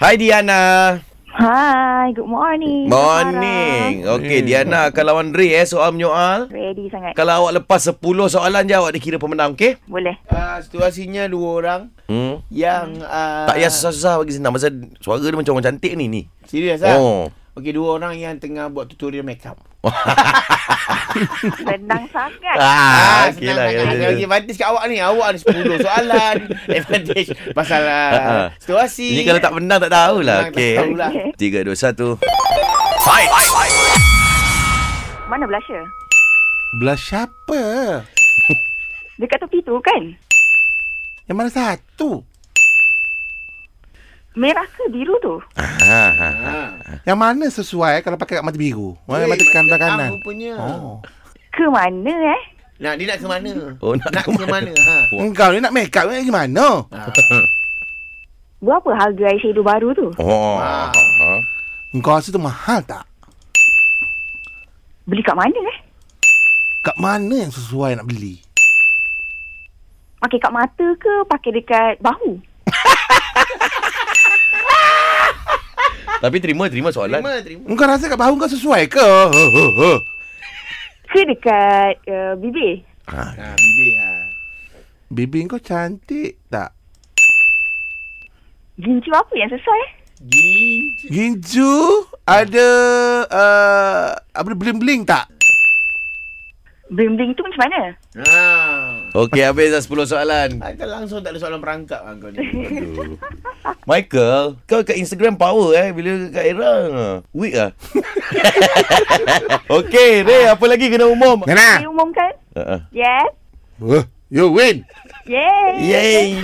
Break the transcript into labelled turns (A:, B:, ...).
A: Hai Diana.
B: Hai, good morning.
A: Morning. Okey,
C: Hmm.
A: Diana akan lawan Ray eh soal menyoal.
B: Sarah. Ready sangat.
A: Kalau awak lepas 10 soalan je awak dikira pemenang, okey?
B: Boleh.
D: Uh, situasinya dua orang
A: Hmm.
D: yang uh,
A: Tak payah susah-susah bagi senang pasal suara dia macam orang cantik ni ni.
D: serius ah.
A: Oh.
D: Okey dua orang yang tengah buat tutorial makeup.
B: Senang sangat.
A: Ah, okey lah.
D: senang sangat. Ada lagi advantage kat awak ni. Awak ada 10 soalan. advantage pasal uh,
A: Ah, ah.
D: situasi.
A: Ini kalau tak menang tak tahulah.
D: Menang tak
A: Okey.
D: tahulah.
B: Okey.
A: 3 2 1.
B: Mana blusher?
C: Belah siapa?
B: Dekat tepi tu kan?
C: Yang mana satu?
B: Merah ke biru tu?
A: Ha ha.
D: Ah.
C: Yang mana sesuai eh, kalau pakai kat mata biru?
D: Eh,
C: Mana mata kanan belah kanan?
D: Apa punya?
C: Oh.
B: Ke mana eh?
D: Nak dia nak ke mana?
A: Oh, nak
D: nak
A: ke
D: ke mana? Ha.
C: Engkau ni nak make up ni gimana?
D: Ha.
B: Berapa harga eyeshadow baru tu?
A: Oh.
D: Ah.
A: Ha.
C: Engkau rasa tu mahal tak?
B: Beli kat mana eh?
C: Kat mana yang sesuai nak beli?
B: Pakai kat mata ke pakai dekat bahu?
A: Tapi terima terima soalan.
D: Terima, terima.
C: Engkau rasa kat bahu kau sesuai ke?
B: Ke dekat uh, bibir?
A: Ha.
D: Ha, bibir ha.
C: Bibi kau cantik tak?
B: Gincu apa yang sesuai eh?
D: Gin.
C: Ginju ada uh, apa dia, bling-bling tak?
B: Bling-bling tu macam mana?
D: Ha.
A: Okey, habis dah 10 soalan.
D: Kau Ah, langsung tak ada soalan perangkap lah kau ni.
A: Michael, kau kat Instagram power eh bila kat era. Weak ah. Okey, Ray, apa lagi kena umum?
C: Nana.
B: Diumumkan?
A: Uh-uh.
B: Yes.
C: You win.
B: Yes.
A: Yay.